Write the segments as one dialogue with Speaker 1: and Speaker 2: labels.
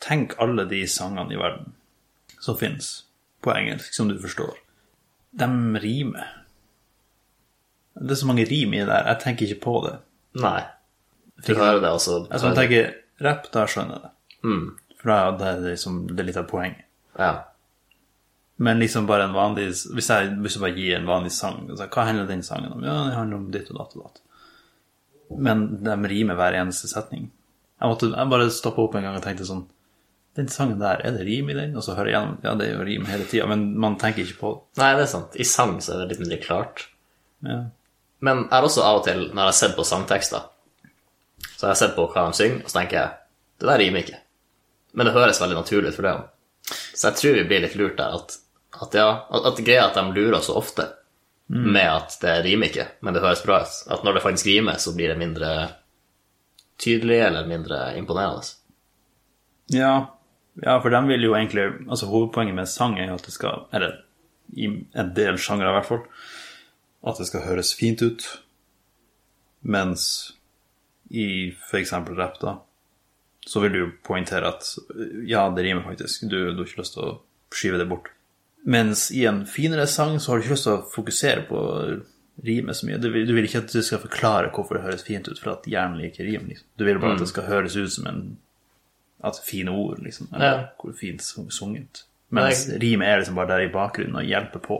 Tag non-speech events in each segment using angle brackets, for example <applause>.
Speaker 1: Tenk alle de sangene i verden som fins på engelsk, som du forstår. De rimer. Det er så mange rim i det der. Jeg tenker ikke på det.
Speaker 2: Nei. Du hører det, altså.
Speaker 1: Altså, jeg tenker rapp, da skjønner jeg det. For da da er det, liksom, det er litt av poenget.
Speaker 2: Ja.
Speaker 1: Men liksom bare en vanlig Hvis jeg, hvis jeg bare gir en vanlig sang altså, Hva handler den sangen om? Ja, den handler om ditt og datt og datt. Men de rimer hver eneste setning. Jeg måtte jeg bare stoppe opp en gang og tenkte sånn Den sangen der, er det rim i den? Og så hører jeg gjennom Ja, det er jo rim hele tida, men man tenker ikke på det.
Speaker 2: Nei, det er sant. I sang så er det litt mindre klart.
Speaker 1: Ja.
Speaker 2: Men jeg har også av og til, når jeg har sett på sangtekster, så har jeg sett på hva de synger, og så tenker jeg det der rimer ikke. Men det høres veldig naturlig ut for dem. Så jeg tror vi blir litt lurt der, at, at, ja, at, at greia er at de lurer oss så ofte
Speaker 1: Mm.
Speaker 2: med at det rimer ikke, men det høres bra ut. At når det faktisk rimer, så blir det mindre tydelig eller mindre imponerende.
Speaker 1: Ja, ja for de vil jo egentlig Altså, hovedpoenget med sang er jo at det skal Eller i en del sjangere, i hvert fall. At det skal høres fint ut. Mens i f.eks. rapp, da, så vil du jo poengtere at ja, det rimer faktisk. Du, du har ikke lyst til å skyve det bort. Mens i en finere sang så har du ikke lyst til å fokusere på rimet så mye. Du vil, du vil ikke at du skal forklare hvorfor det høres fint ut, for at hjernen liker rim. Liksom. Du vil bare at det skal høres ut som en at fine ord, liksom. Eller
Speaker 2: Ja.
Speaker 1: hvor fint sung- sunget. Mens rimet er liksom bare der i bakgrunnen og hjelper på.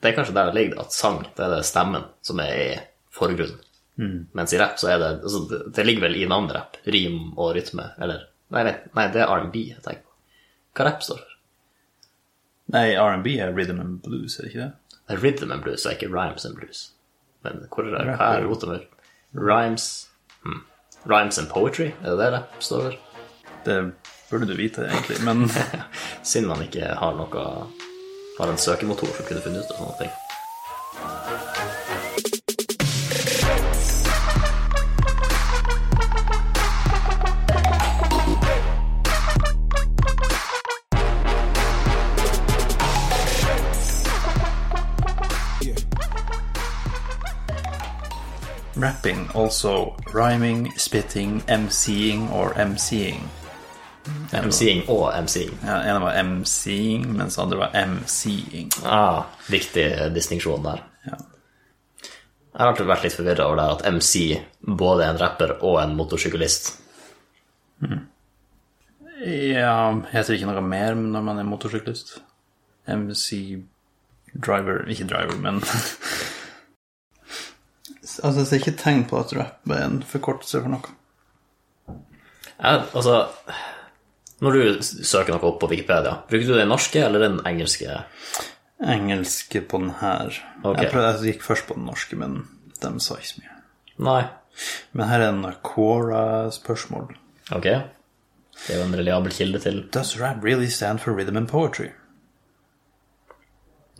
Speaker 2: Det er kanskje der det ligger, at sang det er det stemmen som er i forgrunnen. Mens i rapp så er det altså, det- Det ligger vel i navnet rapp. Rim og rytme, eller Nei, nei, nei det er R&B jeg tenker på. Hva rapp står for?
Speaker 1: Nei, R&B er rhythm and blues, er det ikke det?
Speaker 2: Det er Rhythm and blues, det er ikke rhymes and blues. Men hvor er det?
Speaker 1: Rapp,
Speaker 2: Hva
Speaker 1: ja.
Speaker 2: er rotet med? Rhymes hmm. Rhymes and poetry, er det det rapp står for?
Speaker 1: Det burde du vite, egentlig, <laughs> men
Speaker 2: Siden man ikke har noe Har en søkemotor som kunne funnet ut av sånne ting.
Speaker 1: rapping, also rhyming, spitting, MCing or MCing.
Speaker 2: MC-ing og MC-ing.
Speaker 1: Ja, ene var MCing, mens andre var MCing.
Speaker 2: Ah, viktig distinksjon der.
Speaker 1: Ja.
Speaker 2: Jeg har alltid vært litt forvirra over det her at MC både er en rapper og en motorsyklist.
Speaker 1: ja, heter ikke noe mer når man er motorsyklist. MC driver Ikke driver, men <laughs> Altså, jeg ser ikke tegn på at rap er en forkortelse for noe.
Speaker 2: Jeg, altså, når du s- søker noe opp på Wikipedia, bruker du den norske eller den engelske?
Speaker 1: Engelske på den her.
Speaker 2: Ok.
Speaker 1: Jeg, prøvde, jeg gikk først på den norske, men de sa ikke så mye.
Speaker 2: Nei.
Speaker 1: Men her er en Quora-spørsmål.
Speaker 2: Ok. Det er jo en reliabel kilde til
Speaker 1: Does rap really stand for rhythm and poetry?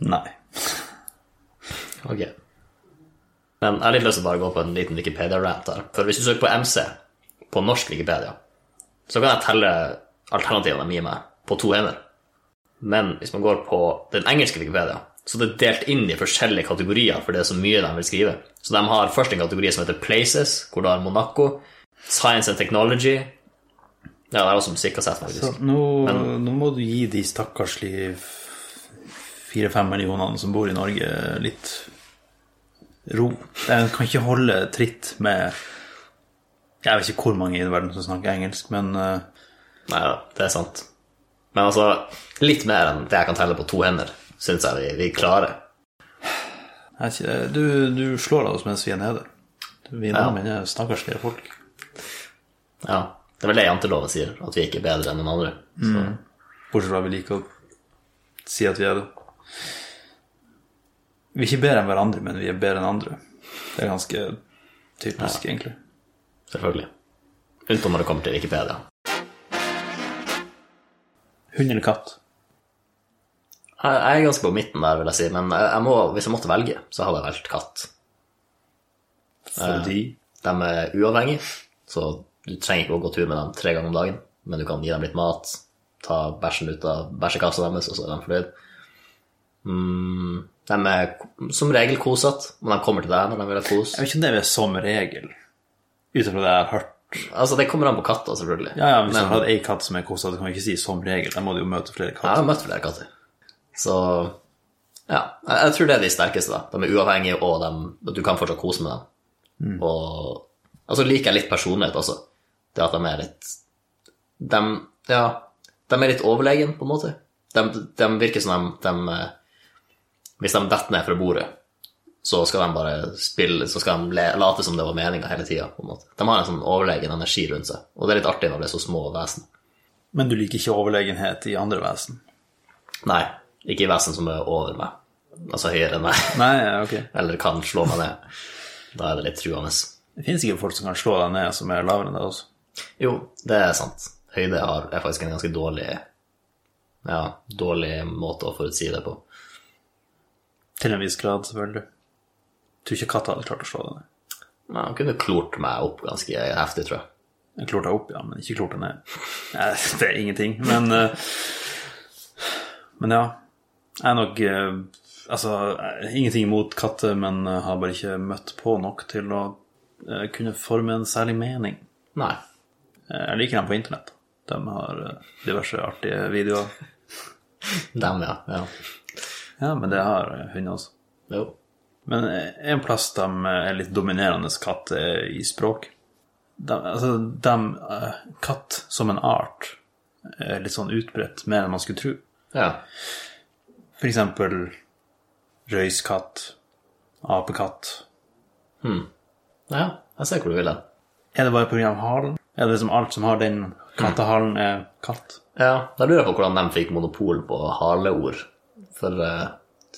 Speaker 1: Nei.
Speaker 2: Ok. Men jeg har litt lyst til å bare gå på en liten Wikipedia-rant her. For hvis du søker på MC på norsk Wikipedia, så kan jeg telle alternativene de gir meg, på to hender. Men hvis man går på den engelske Wikipedia, så det er delt inn i forskjellige kategorier, for det er så mye de vil skrive. Så de har først en kategori som heter Places, hvor da er Monaco, Science and Technology Ja, det er også musikkkassett, faktisk.
Speaker 1: Så nå, nå må du gi de stakkarslige fire-fem millionene som bor i Norge, litt ro. Jeg kan ikke holde tritt med Jeg vet ikke hvor mange i verden som snakker engelsk, men eh,
Speaker 2: Nei, det er sant. Men altså, litt mer enn det jeg kan telle på to hender, syns jeg vi, vi klarer.
Speaker 1: jeg vet ikke, du, du slår av oss mens vi er nede. Vi
Speaker 2: Ja.
Speaker 1: nordmenn er stakkarslige folk.
Speaker 2: Ja, det er vel det janteloven sier, at vi ikke er bedre enn den andre. Så,
Speaker 1: Bortsett fra vi liker å si at vi er det. Vi er ikke bedre enn hverandre, men vi er bedre enn andre. Det er ganske typisk, egentlig.
Speaker 2: selvfølgelig. Unntatt når det kommer til Wikipedia.
Speaker 1: Hund eller katt?
Speaker 2: Jeg, jeg er ganske på midten der, vil jeg si, men jeg, jeg må, hvis jeg måtte velge, så hadde jeg valgt katt.
Speaker 1: Fordi
Speaker 2: De er uavhengige, så du trenger ikke å gå tur med dem tre ganger om dagen, men du kan gi dem litt mat, ta bæsjen ut av bæsjekassa deres, og så er de fornøyd. Mm, de er ko- som regel kosete, men de kommer til deg når de vil ha kos.
Speaker 1: Jeg vet ikke om det er som regel, ut ifra det jeg har hørt
Speaker 2: Altså, det kommer an på katta, selvfølgelig.
Speaker 1: Ja, ja, Hvis
Speaker 2: Men-
Speaker 1: du har hatt ei katt som er kosa, kan vi ikke si 'som regel'. Da må du jo møte flere
Speaker 2: Jeg
Speaker 1: katter.
Speaker 2: har møtt flere katter. Så ja, jeg, jeg tror det er de sterkeste. da. De er uavhengige, og de, du kan fortsatt kose med dem. Og altså liker jeg litt personlighet også. Det at de er litt De, ja, de er litt overlegen, på en måte. De, de virker som de, de eh, Hvis de detter ned fra bordet, så skal de bare spille, så skal de le- late som det var meninga hele tida. De har en sånn overlegen energi rundt seg, og det er litt artig når det er så små vesen.
Speaker 1: Men du liker ikke overlegenhet i andre vesen?
Speaker 2: Nei, ikke i vesen som er over meg. Altså høyere enn meg, <laughs>
Speaker 1: Nei, ok.
Speaker 2: eller kan slå meg ned. Da er det litt truende.
Speaker 1: Det fins ikke folk som kan slå deg ned som er lavere enn deg også.
Speaker 2: Jo, det er sant. Høyde har, er faktisk en ganske dårlig ja, dårlig måte å forutsi det på.
Speaker 1: Til en viss grad, selvfølgelig. Jeg tror ikke katta hadde klart å slå deg ned.
Speaker 2: Men han kunne klort meg opp ganske heftig, tror jeg.
Speaker 1: Jeg klorte deg opp, ja, men ikke klorte deg ned. Nei, <laughs> det er ingenting, men eh, Men ja. Jeg er nok eh, Altså, jeg- ingenting imot katter, men eh, har bare ikke møtt på nok til å eh, kunne forme en særlig mening.
Speaker 2: Nei.
Speaker 1: Eh, Jeg liker dem på internett. De har eh, diverse artige videoer.
Speaker 2: Dem, ja. ja.
Speaker 1: Ja, men det har eh, hunder også.
Speaker 2: Jo.
Speaker 1: Men eh, en plass de er litt dominerende katt er i språk. De, altså, de, eh, katt som en art er litt sånn utbredt mer enn man skulle tro.
Speaker 2: Ja.
Speaker 1: For eksempel røyskatt, apekatt.
Speaker 2: ja. Jeg ser hvor du vil hen.
Speaker 1: Er det bare pga. halen? Er det liksom alt som har den kattehalen, er katt?
Speaker 2: Ja, da lurer jeg på hvordan de fikk monopol på haleord. For eh,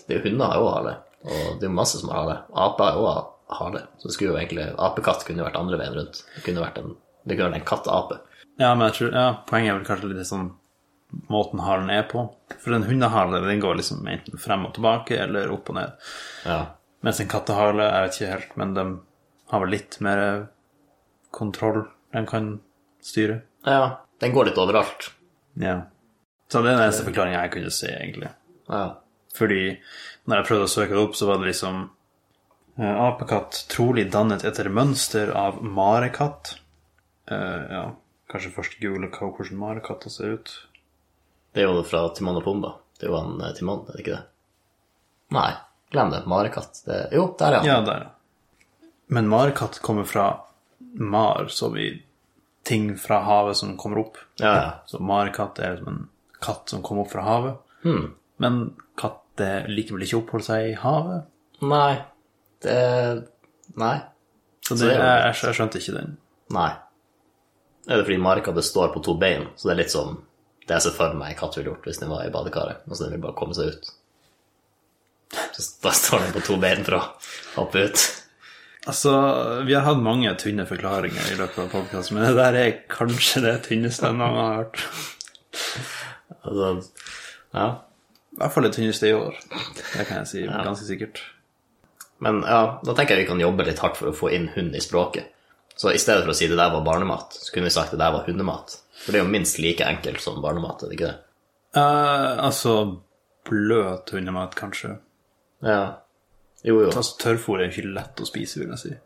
Speaker 2: det er jo hunder har jo hale, og det er jo masse som har hale. Aper har jo ha- hale, så det skulle jo egentlig apekatt kunne vært andre veien rundt. Det kunne vært en, det kunne vært en kattape.
Speaker 1: Ja, men jeg tror, ja, poenget er vel kanskje litt sånn måten halen er på. For en hundehale den går liksom enten frem og tilbake eller opp og ned.
Speaker 2: Ja.
Speaker 1: Mens en kattehale, jeg vet ikke helt, men de har vel litt mer kontroll de kan styre.
Speaker 2: ja. Den går litt overalt.
Speaker 1: Ja. Så det er den eneste forklaringen jeg kunne se, egentlig.
Speaker 2: Ja.
Speaker 1: Fordi når jeg prøvde å søke det opp, så var det liksom eh, Apekatt trolig dannet etter mønster av marekatt. Eh, ja, kanskje først google hva- hvordan marekatter ser ut.
Speaker 2: Det er jo fra Timon og Pumba. Det er jo han eh, Timon, er det ikke det? Nei, glem det. Marekatt. Det... Jo, der er han.
Speaker 1: Ja, der, ja. Men marekatt kommer fra mar, som i ting fra havet som kommer opp.
Speaker 2: Ja, ja.
Speaker 1: Så marekatt er liksom en katt som kom opp fra havet. Men katter liker vel ikke å oppholde seg i havet?
Speaker 2: Nei. Det Nei.
Speaker 1: Så det,
Speaker 2: det er jo
Speaker 1: jeg, jeg skjønte ikke den.
Speaker 2: Nei. Er det fordi marka består på to bein, så det er litt som det jeg ser for meg en katt ville gjort hvis den var i badekaret. Altså, den vil bare komme seg ut. Så da står den på to bein for å hoppe ut.
Speaker 1: Altså, vi har hatt mange tynne forklaringer i løpet av podkasten, men det der er kanskje det tynneste jeg noen gang har hørt.
Speaker 2: Altså, ja.
Speaker 1: I hvert fall det tynneste i år. Det kan jeg si ganske sikkert.
Speaker 2: Men ja, da tenker jeg vi kan jobbe litt hardt for å få inn hund i språket. Så i stedet for å si det der var barnemat, så kunne vi sagt det der var hundemat. For det er jo minst like enkelt som barnemat, er det ikke det?
Speaker 1: Eh, altså, bløt hundemat, kanskje.
Speaker 2: Ja. Jo, jo.
Speaker 1: Altså, Tørrfôr er jo ikke lett å spise, vil jeg si. Jeg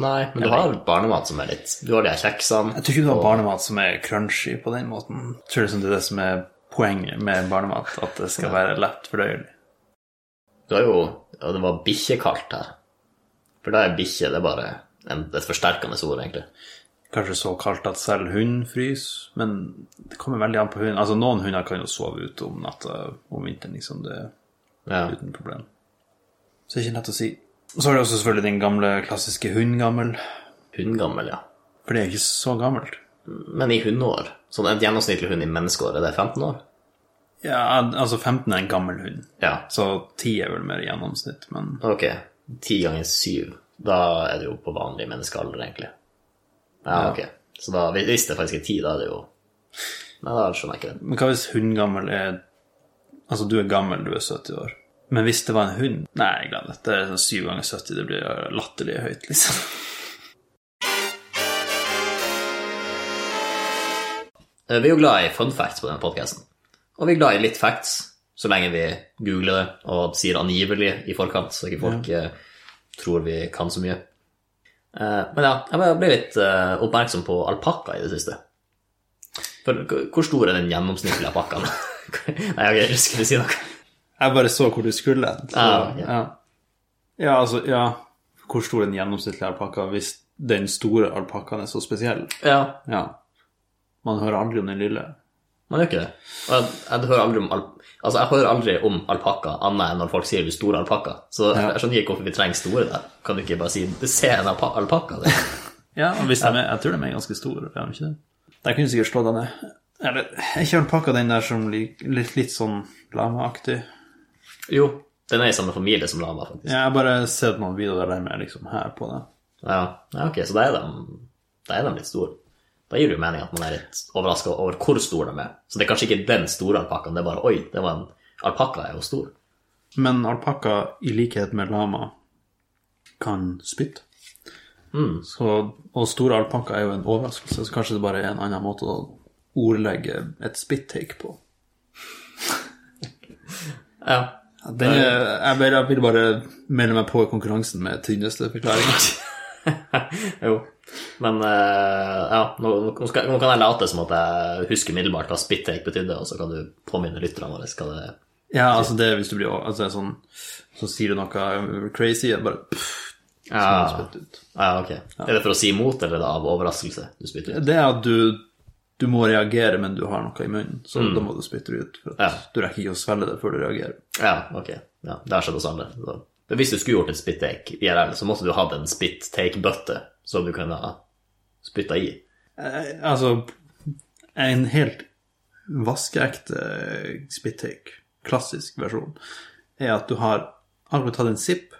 Speaker 2: Nei, men du har barnemat som er sånn. litt Du har de her kjeksene.
Speaker 1: tror ikke du har barnemat som er crunchy på den måten. Jeg tror liksom det er det som er poenget med barnemat, at det skal være lett fordøyelig.
Speaker 2: Det var jo ja, det var bikkjekaldt her. For da er bikkje det er bare en, et forsterkende ord, egentlig.
Speaker 1: Kanskje så kaldt at selv hund fryser, men det kommer veldig an på hunden. Altså, noen hunder kan jo sove ute om natta om vinteren, liksom, det
Speaker 2: Ja.
Speaker 1: uten problem. Så det er ikke lett å si. Og så har du også selvfølgelig den gamle, klassiske hundgammel,
Speaker 2: Hundgammel, ja.
Speaker 1: for det er jo ikke så gammelt.
Speaker 2: Men i hundeår Sånn en gjennomsnittlig hund i menneskeår, er det 15 år?
Speaker 1: Ja, altså 15 er en gammel hund,
Speaker 2: Ja.
Speaker 1: så 10 er vel mer i gjennomsnitt, men
Speaker 2: Ok. 10 ganger 7. Da er det jo på vanlig menneskealder, egentlig. Ja, ok. Så da, hvis det faktisk er 10, da er det jo <laughs> Nei, da skjønner jeg ikke det.
Speaker 1: Men hva hvis hundgammel er Altså, du er gammel, du er 70 år. Men hvis det var en hund Nei, glem det. Det er sånn 7 ganger 70, det blir latterlig høyt, liksom.
Speaker 2: Eh, Vi er jo glad i fun facts på denne podkasten. Og vi er glad i litt facts, så lenge vi googler det og sier angivelig i forkant, så ikke folk eh, tror vi kan så mye. Eh, Men ja, jeg bare ble litt eh, oppmerksom på alpakka i det siste. For k- hvor stor er den gjennomsnittlige alpakkaen? <laughs> Nei, ok, jeg skulle si noe.
Speaker 1: <laughs> Jeg bare så hvor du skulle. Så,
Speaker 2: Ah, ok.
Speaker 1: ja. ja, altså, ja Hvor stor er den gjennomsnittlige alpakka hvis den store alpakkaen er så spesiell?
Speaker 2: Ja,
Speaker 1: Ja. Man hører aldri om den lille.
Speaker 2: man gjør ikke det. Og jeg, jeg hører aldri om al altså, jeg hører aldri om alpakka annet enn når folk sier du store alpakka. Så jeg,
Speaker 1: Ja.
Speaker 2: skjønner ikke hvorfor vi trenger store der. Kan du ikke bare si se en alpa alpakka? det?»
Speaker 1: Ja, og hvis de er, Jeg tror de er ganske store, er de ikke det? De kunne sikkert slå deg ned. Eller, er ikke alpakka den der som lik- litt, litt sånn lameaktig?
Speaker 2: Jo, den er i samme familie som lama, faktisk.
Speaker 1: Ja, jeg har bare sett noen videoer der de er liksom her på det.
Speaker 2: Ja, ja ok, så da er, de, da er de litt store. Da gir det jo mening at man er litt overraska over hvor store de er. Så det er kanskje ikke den store alpakkaen, det er bare oi, det var en alpakka er jo stor.
Speaker 1: Men alpakka, i likhet med lama, kan spytte.
Speaker 2: Mm.
Speaker 1: Så, og store alpakka er jo en overraskelse, så kanskje det bare er en annen måte å ordlegge et spytt-take på.
Speaker 2: Ja.
Speaker 1: Den, er- jeg, bare, jeg vil bare melde meg på i konkurransen med tynneste forklaring.
Speaker 2: <laughs> jo. Men eh, ja, nå, nå, skal, nå kan jeg late som at jeg husker umiddelbart hva spit-take betydde, og så kan du påminne lytterne våre hva det er.
Speaker 1: Ja, altså det er hvis du blir over- altså det er sånn, Så sier du noe crazy, og bare pff,
Speaker 2: Ja,
Speaker 1: spytt ut.
Speaker 2: ja ok. Er det for å si imot, eller er det av overraskelse du spytter ut?
Speaker 1: Det er at du, du må reagere, men du har noe i munnen, så da må du spytte det ut. For at
Speaker 2: Mm. Ja.
Speaker 1: Du rekker ikke å svelge det før du reagerer.
Speaker 2: Ja, ok. Ja, det har skjedd oss alle. Så. Men hvis du skulle gjort et spit-take IRL, så måtte du hatt en spit-take-bøtte som du kunne ha spytta i.
Speaker 1: Eh, Altså, en helt vaskeekte spit-take, klassisk versjon, er at du har akkurat tatt en sipp,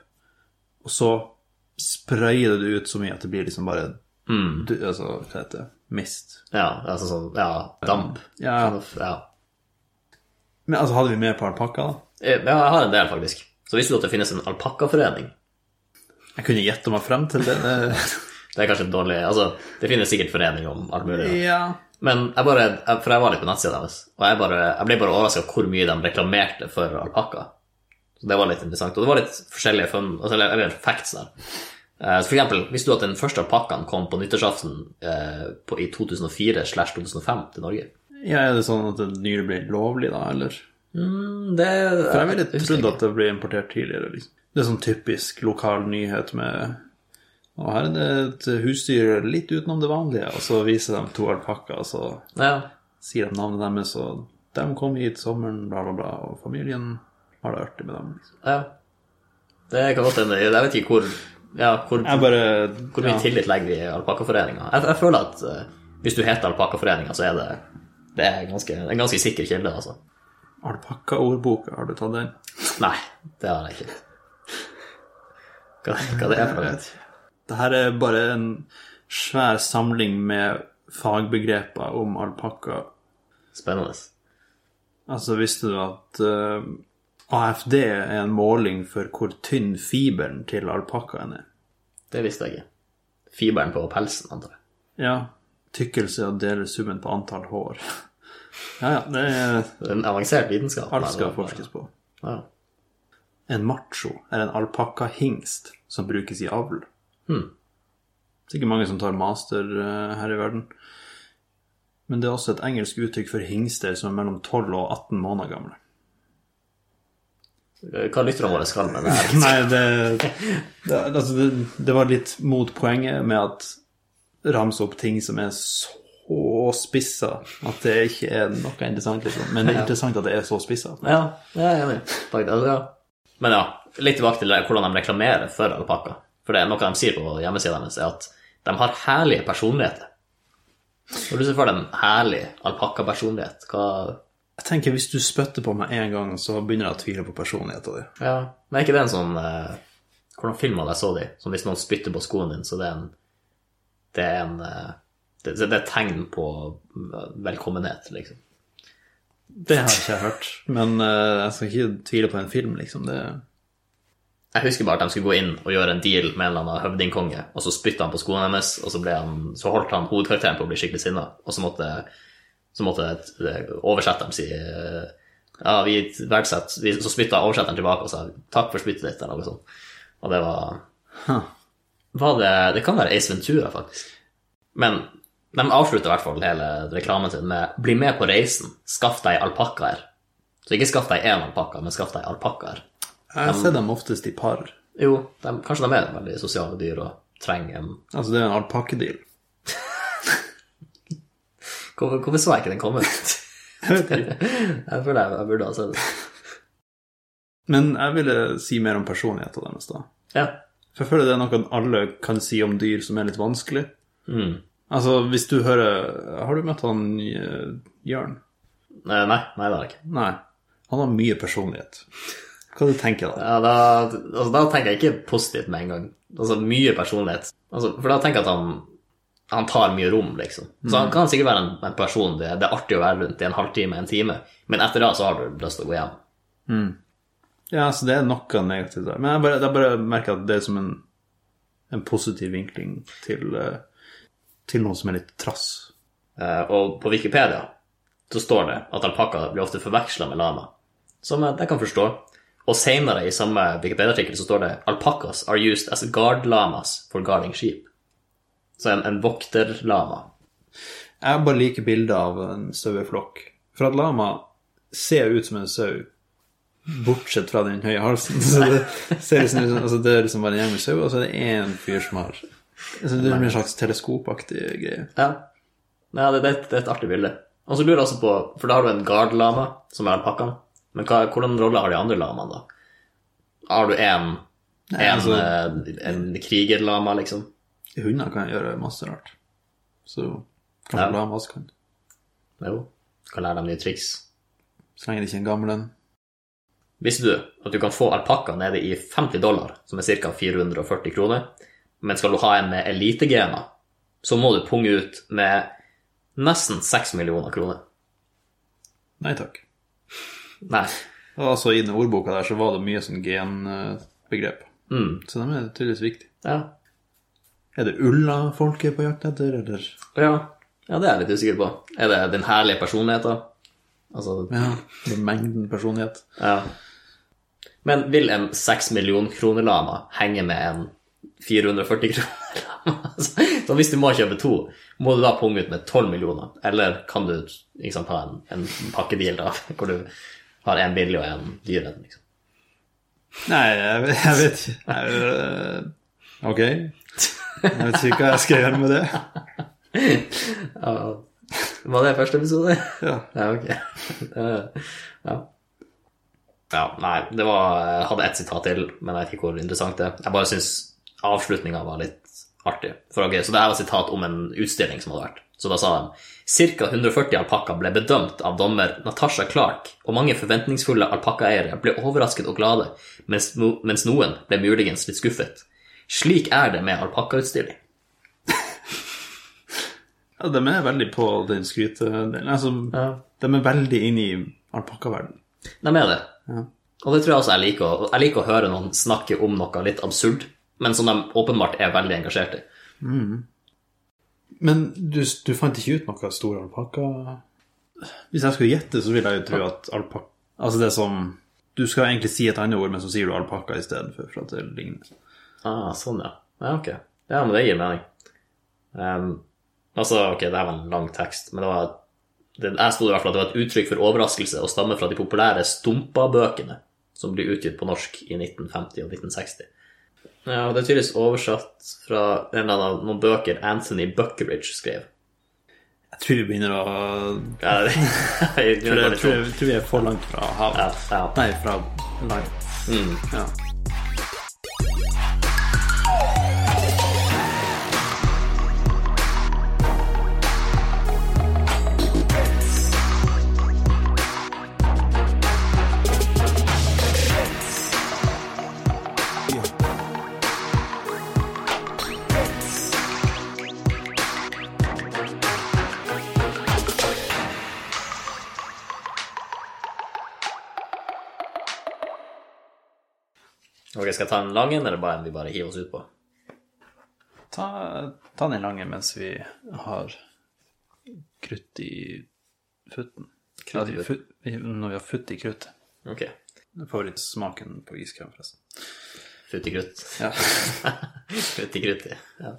Speaker 1: og så sprayer du det ut så mye at det blir liksom bare
Speaker 2: Mm.
Speaker 1: du, Altså, hva heter det? Mist.
Speaker 2: Ja, altså sånn Ja, damp.
Speaker 1: Ja.
Speaker 2: ja.
Speaker 1: Men altså, hadde vi med på alpakka, da?
Speaker 2: Eh, ja jeg har en del, faktisk. Så visste du at det finnes en alpakkaforening?
Speaker 1: Jeg kunne gjette meg frem til det. <laughs> det-
Speaker 2: Det er kanskje et dårlig Altså, det finnes sikkert forening om alt mulig. <laughs> ja.
Speaker 1: ja.
Speaker 2: Men jeg bare jeg, For jeg var litt på nettsida deres, og jeg, bare, jeg ble bare overraska hvor mye de reklamerte for alpakka. Så det var litt interessant. Og det var litt forskjellige fun, altså, eller, eller facts der. Eh, så for eksempel, visste du at den første alpakkaen kom på nyttårsaften eh, på, i 2004 slash 2005 til Norge?
Speaker 1: ja. Er det sånn at det nylig ble lovlig, da, eller?
Speaker 2: Mm, det
Speaker 1: For jeg ville trodd at det ble importert tidligere. Liksom. Det er sånn typisk lokal nyhet med Og her er det et husdyr litt utenom det vanlige, og så viser de to alpakkaer, og så
Speaker 2: Ja,
Speaker 1: sier de navnet deres, og de kom hit sommeren, bla, bla, bla, og familien har det artig med dem. Liksom.
Speaker 2: ja. Det kan godt hende. Jeg vet ikke hvor, ja, hvor
Speaker 1: Jeg bare
Speaker 2: Hvor mye
Speaker 1: ja.
Speaker 2: tillit legger vi i alpakkaforeninga? Jeg, jeg føler at eh, hvis du heter alpakkaforeninga, så er det, det er ganske, en ganske sikker kilde, altså.
Speaker 1: Alpakkaordboka, har du tatt den?
Speaker 2: Nei, det har jeg ikke. Hva, hva det er for noe?
Speaker 1: Det her er bare en svær samling med fagbegreper om alpakka.
Speaker 2: Spennende.
Speaker 1: Altså, visste du at eh, AFD er en måling for hvor tynn fiberen til alpakkaen er?
Speaker 2: Det visste jeg ikke. Fiberen på pelsen, antar jeg.
Speaker 1: Ja. Tykkelse og deler summen på antall hår. <laughs> ja, ja, det er
Speaker 2: Det er en avansert vitenskap.
Speaker 1: alt skal
Speaker 2: men-
Speaker 1: forskes på.
Speaker 2: Ja.
Speaker 1: En macho er en alpakkahingst som brukes i avl. Sikkert mange som tar master eh, her i verden. Men det er også et engelsk uttrykk for hingster som er mellom 12 og 18 måneder gamle.
Speaker 2: Hva lytterne våre skal med det her?
Speaker 1: <laughs> Nei, det, det, altså det, det var litt mot poenget med at ramse opp ting som er så spissa at det ikke er noe interessant, liksom. Men det er interessant at det er så spissa.
Speaker 2: Ja, jeg er enig. Faktisk, altså, ja. Men ja, litt tilbake til hvordan de reklamerer for alpakka. For det er noe de sier på hjemmesida deres, er at de har herlige personligheter. Når du ser for deg en herlig alpakkapersonlighet, hva
Speaker 1: Jeg tenker hvis du spytter på meg én gang, så begynner jeg å tvile på personligheten din.
Speaker 2: ja. Men er ikke det en sånn eh, Hvordan filmer jeg så de? Som hvis noen spytter på skoen din, så det er en Det er en eh, det, det er et tegn på velkommenhet, liksom.
Speaker 1: Det har ikke jeg hørt. Men eh, jeg skal ikke tvile på en film, liksom. Det,
Speaker 2: Jeg husker bare at de skulle gå inn og gjøre en deal med en eller annen høvdingkonge, og så spytta han på skoene hennes, og så, ble han, så holdt han hovedkarakteren på å bli skikkelig sinna, og så måtte, så måtte et- oversetteren si eh, Ja, vi verdsetter vi- Så spytta oversetteren tilbake og sa takk for spyttet ditt, eller noe sånt. Og det var Var det, det kan være Ace Ventura, faktisk. Men de avslutter i hvert fall hele reklamen sin med 'Bli med på reisen. Skaff deg alpakkaer'. Så ikke skaff deg én alpakka, men skaff deg alpakkaer.
Speaker 1: Jeg ser dem oftest i par.
Speaker 2: Jo, de, kanskje de er veldig sosiale dyr og trenger en
Speaker 1: Altså, det er en alpakkedeal.
Speaker 2: Hvorfor, hvorfor så jeg ikke den komme ut? jeg føler jeg, jeg burde ha sett den.
Speaker 1: Men jeg ville si mer om personligheten deres, da.
Speaker 2: Ja. Eh,
Speaker 1: For jeg føler det er noe alle kan si om dyr som er litt vanskelig. Altså, hvis du hører Har du møtt han eh, Jørn?
Speaker 2: Eh, Nei, nei, det har jeg ikke.
Speaker 1: Nei. Han har mye personlighet. Hva du tenker du da?
Speaker 2: Ja, da, altså, da tenker jeg ikke positivt med en gang. Altså mye personlighet. Altså, for da tenker jeg at han, han tar mye rom, liksom. Så han kan sikkert være en, en person det, det er artig å være rundt i en halvtime, en time, men etter det så har du lyst til å gå hjem.
Speaker 1: Ja, så det er noe negativt der. Men jeg bare, jeg bare merker at det er som en, en positiv vinkling til, eh, til noe som er litt trass.
Speaker 2: Eh, og på Wikipedia så står det at alpakka blir ofte forveksla med lama, som jeg jeg kan forstå. Og senere i samme Wikipedia-artikkel så står det alpakkas are used as guard lamas for guarding sheep. Så en, en vokterlama.
Speaker 1: Jeg bare liker bildet av en saueflokk. For at lama ser ut som en sau, bortsett fra den høye halsen. <laughs> Så det, ser ut som, altså det er liksom bare en gjeng med sauer, og så er det én fyr som har altså Det er en slags teleskopaktig greie.
Speaker 2: Ja. Nei, det, det, er et- det er et artig bilde. Og så lurer jeg også på, for da har du en guard-lama, som er alpakkaen, men hva, hvordan rolle har de andre lamaene, da? Har du en, en,
Speaker 1: altså-
Speaker 2: eh, en krigerlama, liksom?
Speaker 1: Hunder kan gjøre masse rart. Så kanskje
Speaker 2: Ja.
Speaker 1: lama også kan.
Speaker 2: Jo, kan lære dem nye triks.
Speaker 1: Så lenge det ikke er en gammel en.
Speaker 2: Visste du at du kan få alpakka nede i 50 dollar, som er ca. 440 kroner, men skal du ha en med elitegener, så må du punge ut med nesten 6 millioner kroner.
Speaker 1: Nei takk.
Speaker 2: Nei.
Speaker 1: Og altså I den ordboka der så var det mye sånn genbegrep.
Speaker 2: Mm.
Speaker 1: Så de er tydeligvis viktige.
Speaker 2: Ja.
Speaker 1: Er det ulla folk er på jakt etter, eller?
Speaker 2: ja. Ja, det er jeg litt usikker på. Er det den herlige personligheten? Altså,
Speaker 1: Ja, det er mengden personlighet.
Speaker 2: ja. Men vil en 6 million kroner-lama henge med en 440 kroner-lama? Altså, <laughs> Så hvis du må kjøpe to, må du da punge ut med 12 millioner? Eller kan du ikke sant, ha en, en pakkedeal da, <laughs> hvor du har en billig og en dyr en? Liksom.
Speaker 1: Nei, jeg, vet- jeg vet ikke. Jeg, øh, Ok. Jeg vet ikke hva jeg skal gjøre med det.
Speaker 2: Ja, var det første episode?
Speaker 1: Ja.
Speaker 2: Ja, ok. <laughs> Eh, ja. ja. Nei, det var Jeg hadde ett sitat til, men jeg vet ikke hvor interessant det er. Jeg bare syns avslutninga var litt artig. For ok, Så det her var sitat om en utstilling som hadde vært. Så da sa de ca. 140 alpakkaer ble bedømt av dommer Natasha Clark, og mange forventningsfulle alpakkaeiere ble overrasket og glade, mens, no, mens noen ble muligens litt skuffet. Slik er det med alpakkautstilling.
Speaker 1: ja, de er veldig på den skrytedelen. Altså,
Speaker 2: Ja.
Speaker 1: de er veldig inne i alpakkaverdenen.
Speaker 2: De er det. Og det tror jeg også jeg liker. å- Jeg liker å høre noen snakke om noe litt absurd, men som de åpenbart er veldig engasjert i.
Speaker 1: Men du, du fant ikke ut noe stor alpakka? Hvis jeg skulle gjette, så ville jeg jo tro at alpakka Altså det som Du skal egentlig si et annet ord, men så sier du alpakka istedenfor, for at det ligner.
Speaker 2: Ah, sånn, ja. Ja, ok. Ja, men det gir mening. Ehm, altså, ok, det her var en lang tekst, men det var det, Jeg sto i hvert fall at det var et uttrykk for overraskelse og stammer fra de populære Stumpa-bøkene, som ble utgitt på norsk i 1950 og 1960. Ja, og Det er tydeligvis oversatt fra en eller annen, noen bøker Anthony Buckeridge skrev.
Speaker 1: Jeg tror vi begynner å
Speaker 2: Ja, det, <laughs> jeg,
Speaker 1: Jeg tror,
Speaker 2: jeg,
Speaker 1: jeg tror vi er for langt fra havet. Mm.
Speaker 2: ja, ja.
Speaker 1: Nei, fra land. Ja.
Speaker 2: Ok, Skal jeg ta en lang en, eller bare en vi bare hiver oss ut på?
Speaker 1: Ta, ta den lange mens vi har krutt i futten.
Speaker 2: Krutt i
Speaker 1: Ja, fut- i- Når vi har futt i kruttet.
Speaker 2: Ok.
Speaker 1: Det er Favorittsmaken på iskrem, forresten.
Speaker 2: Frutti krutt.
Speaker 3: Ja.
Speaker 2: <laughs> Frutti krutti. Ja.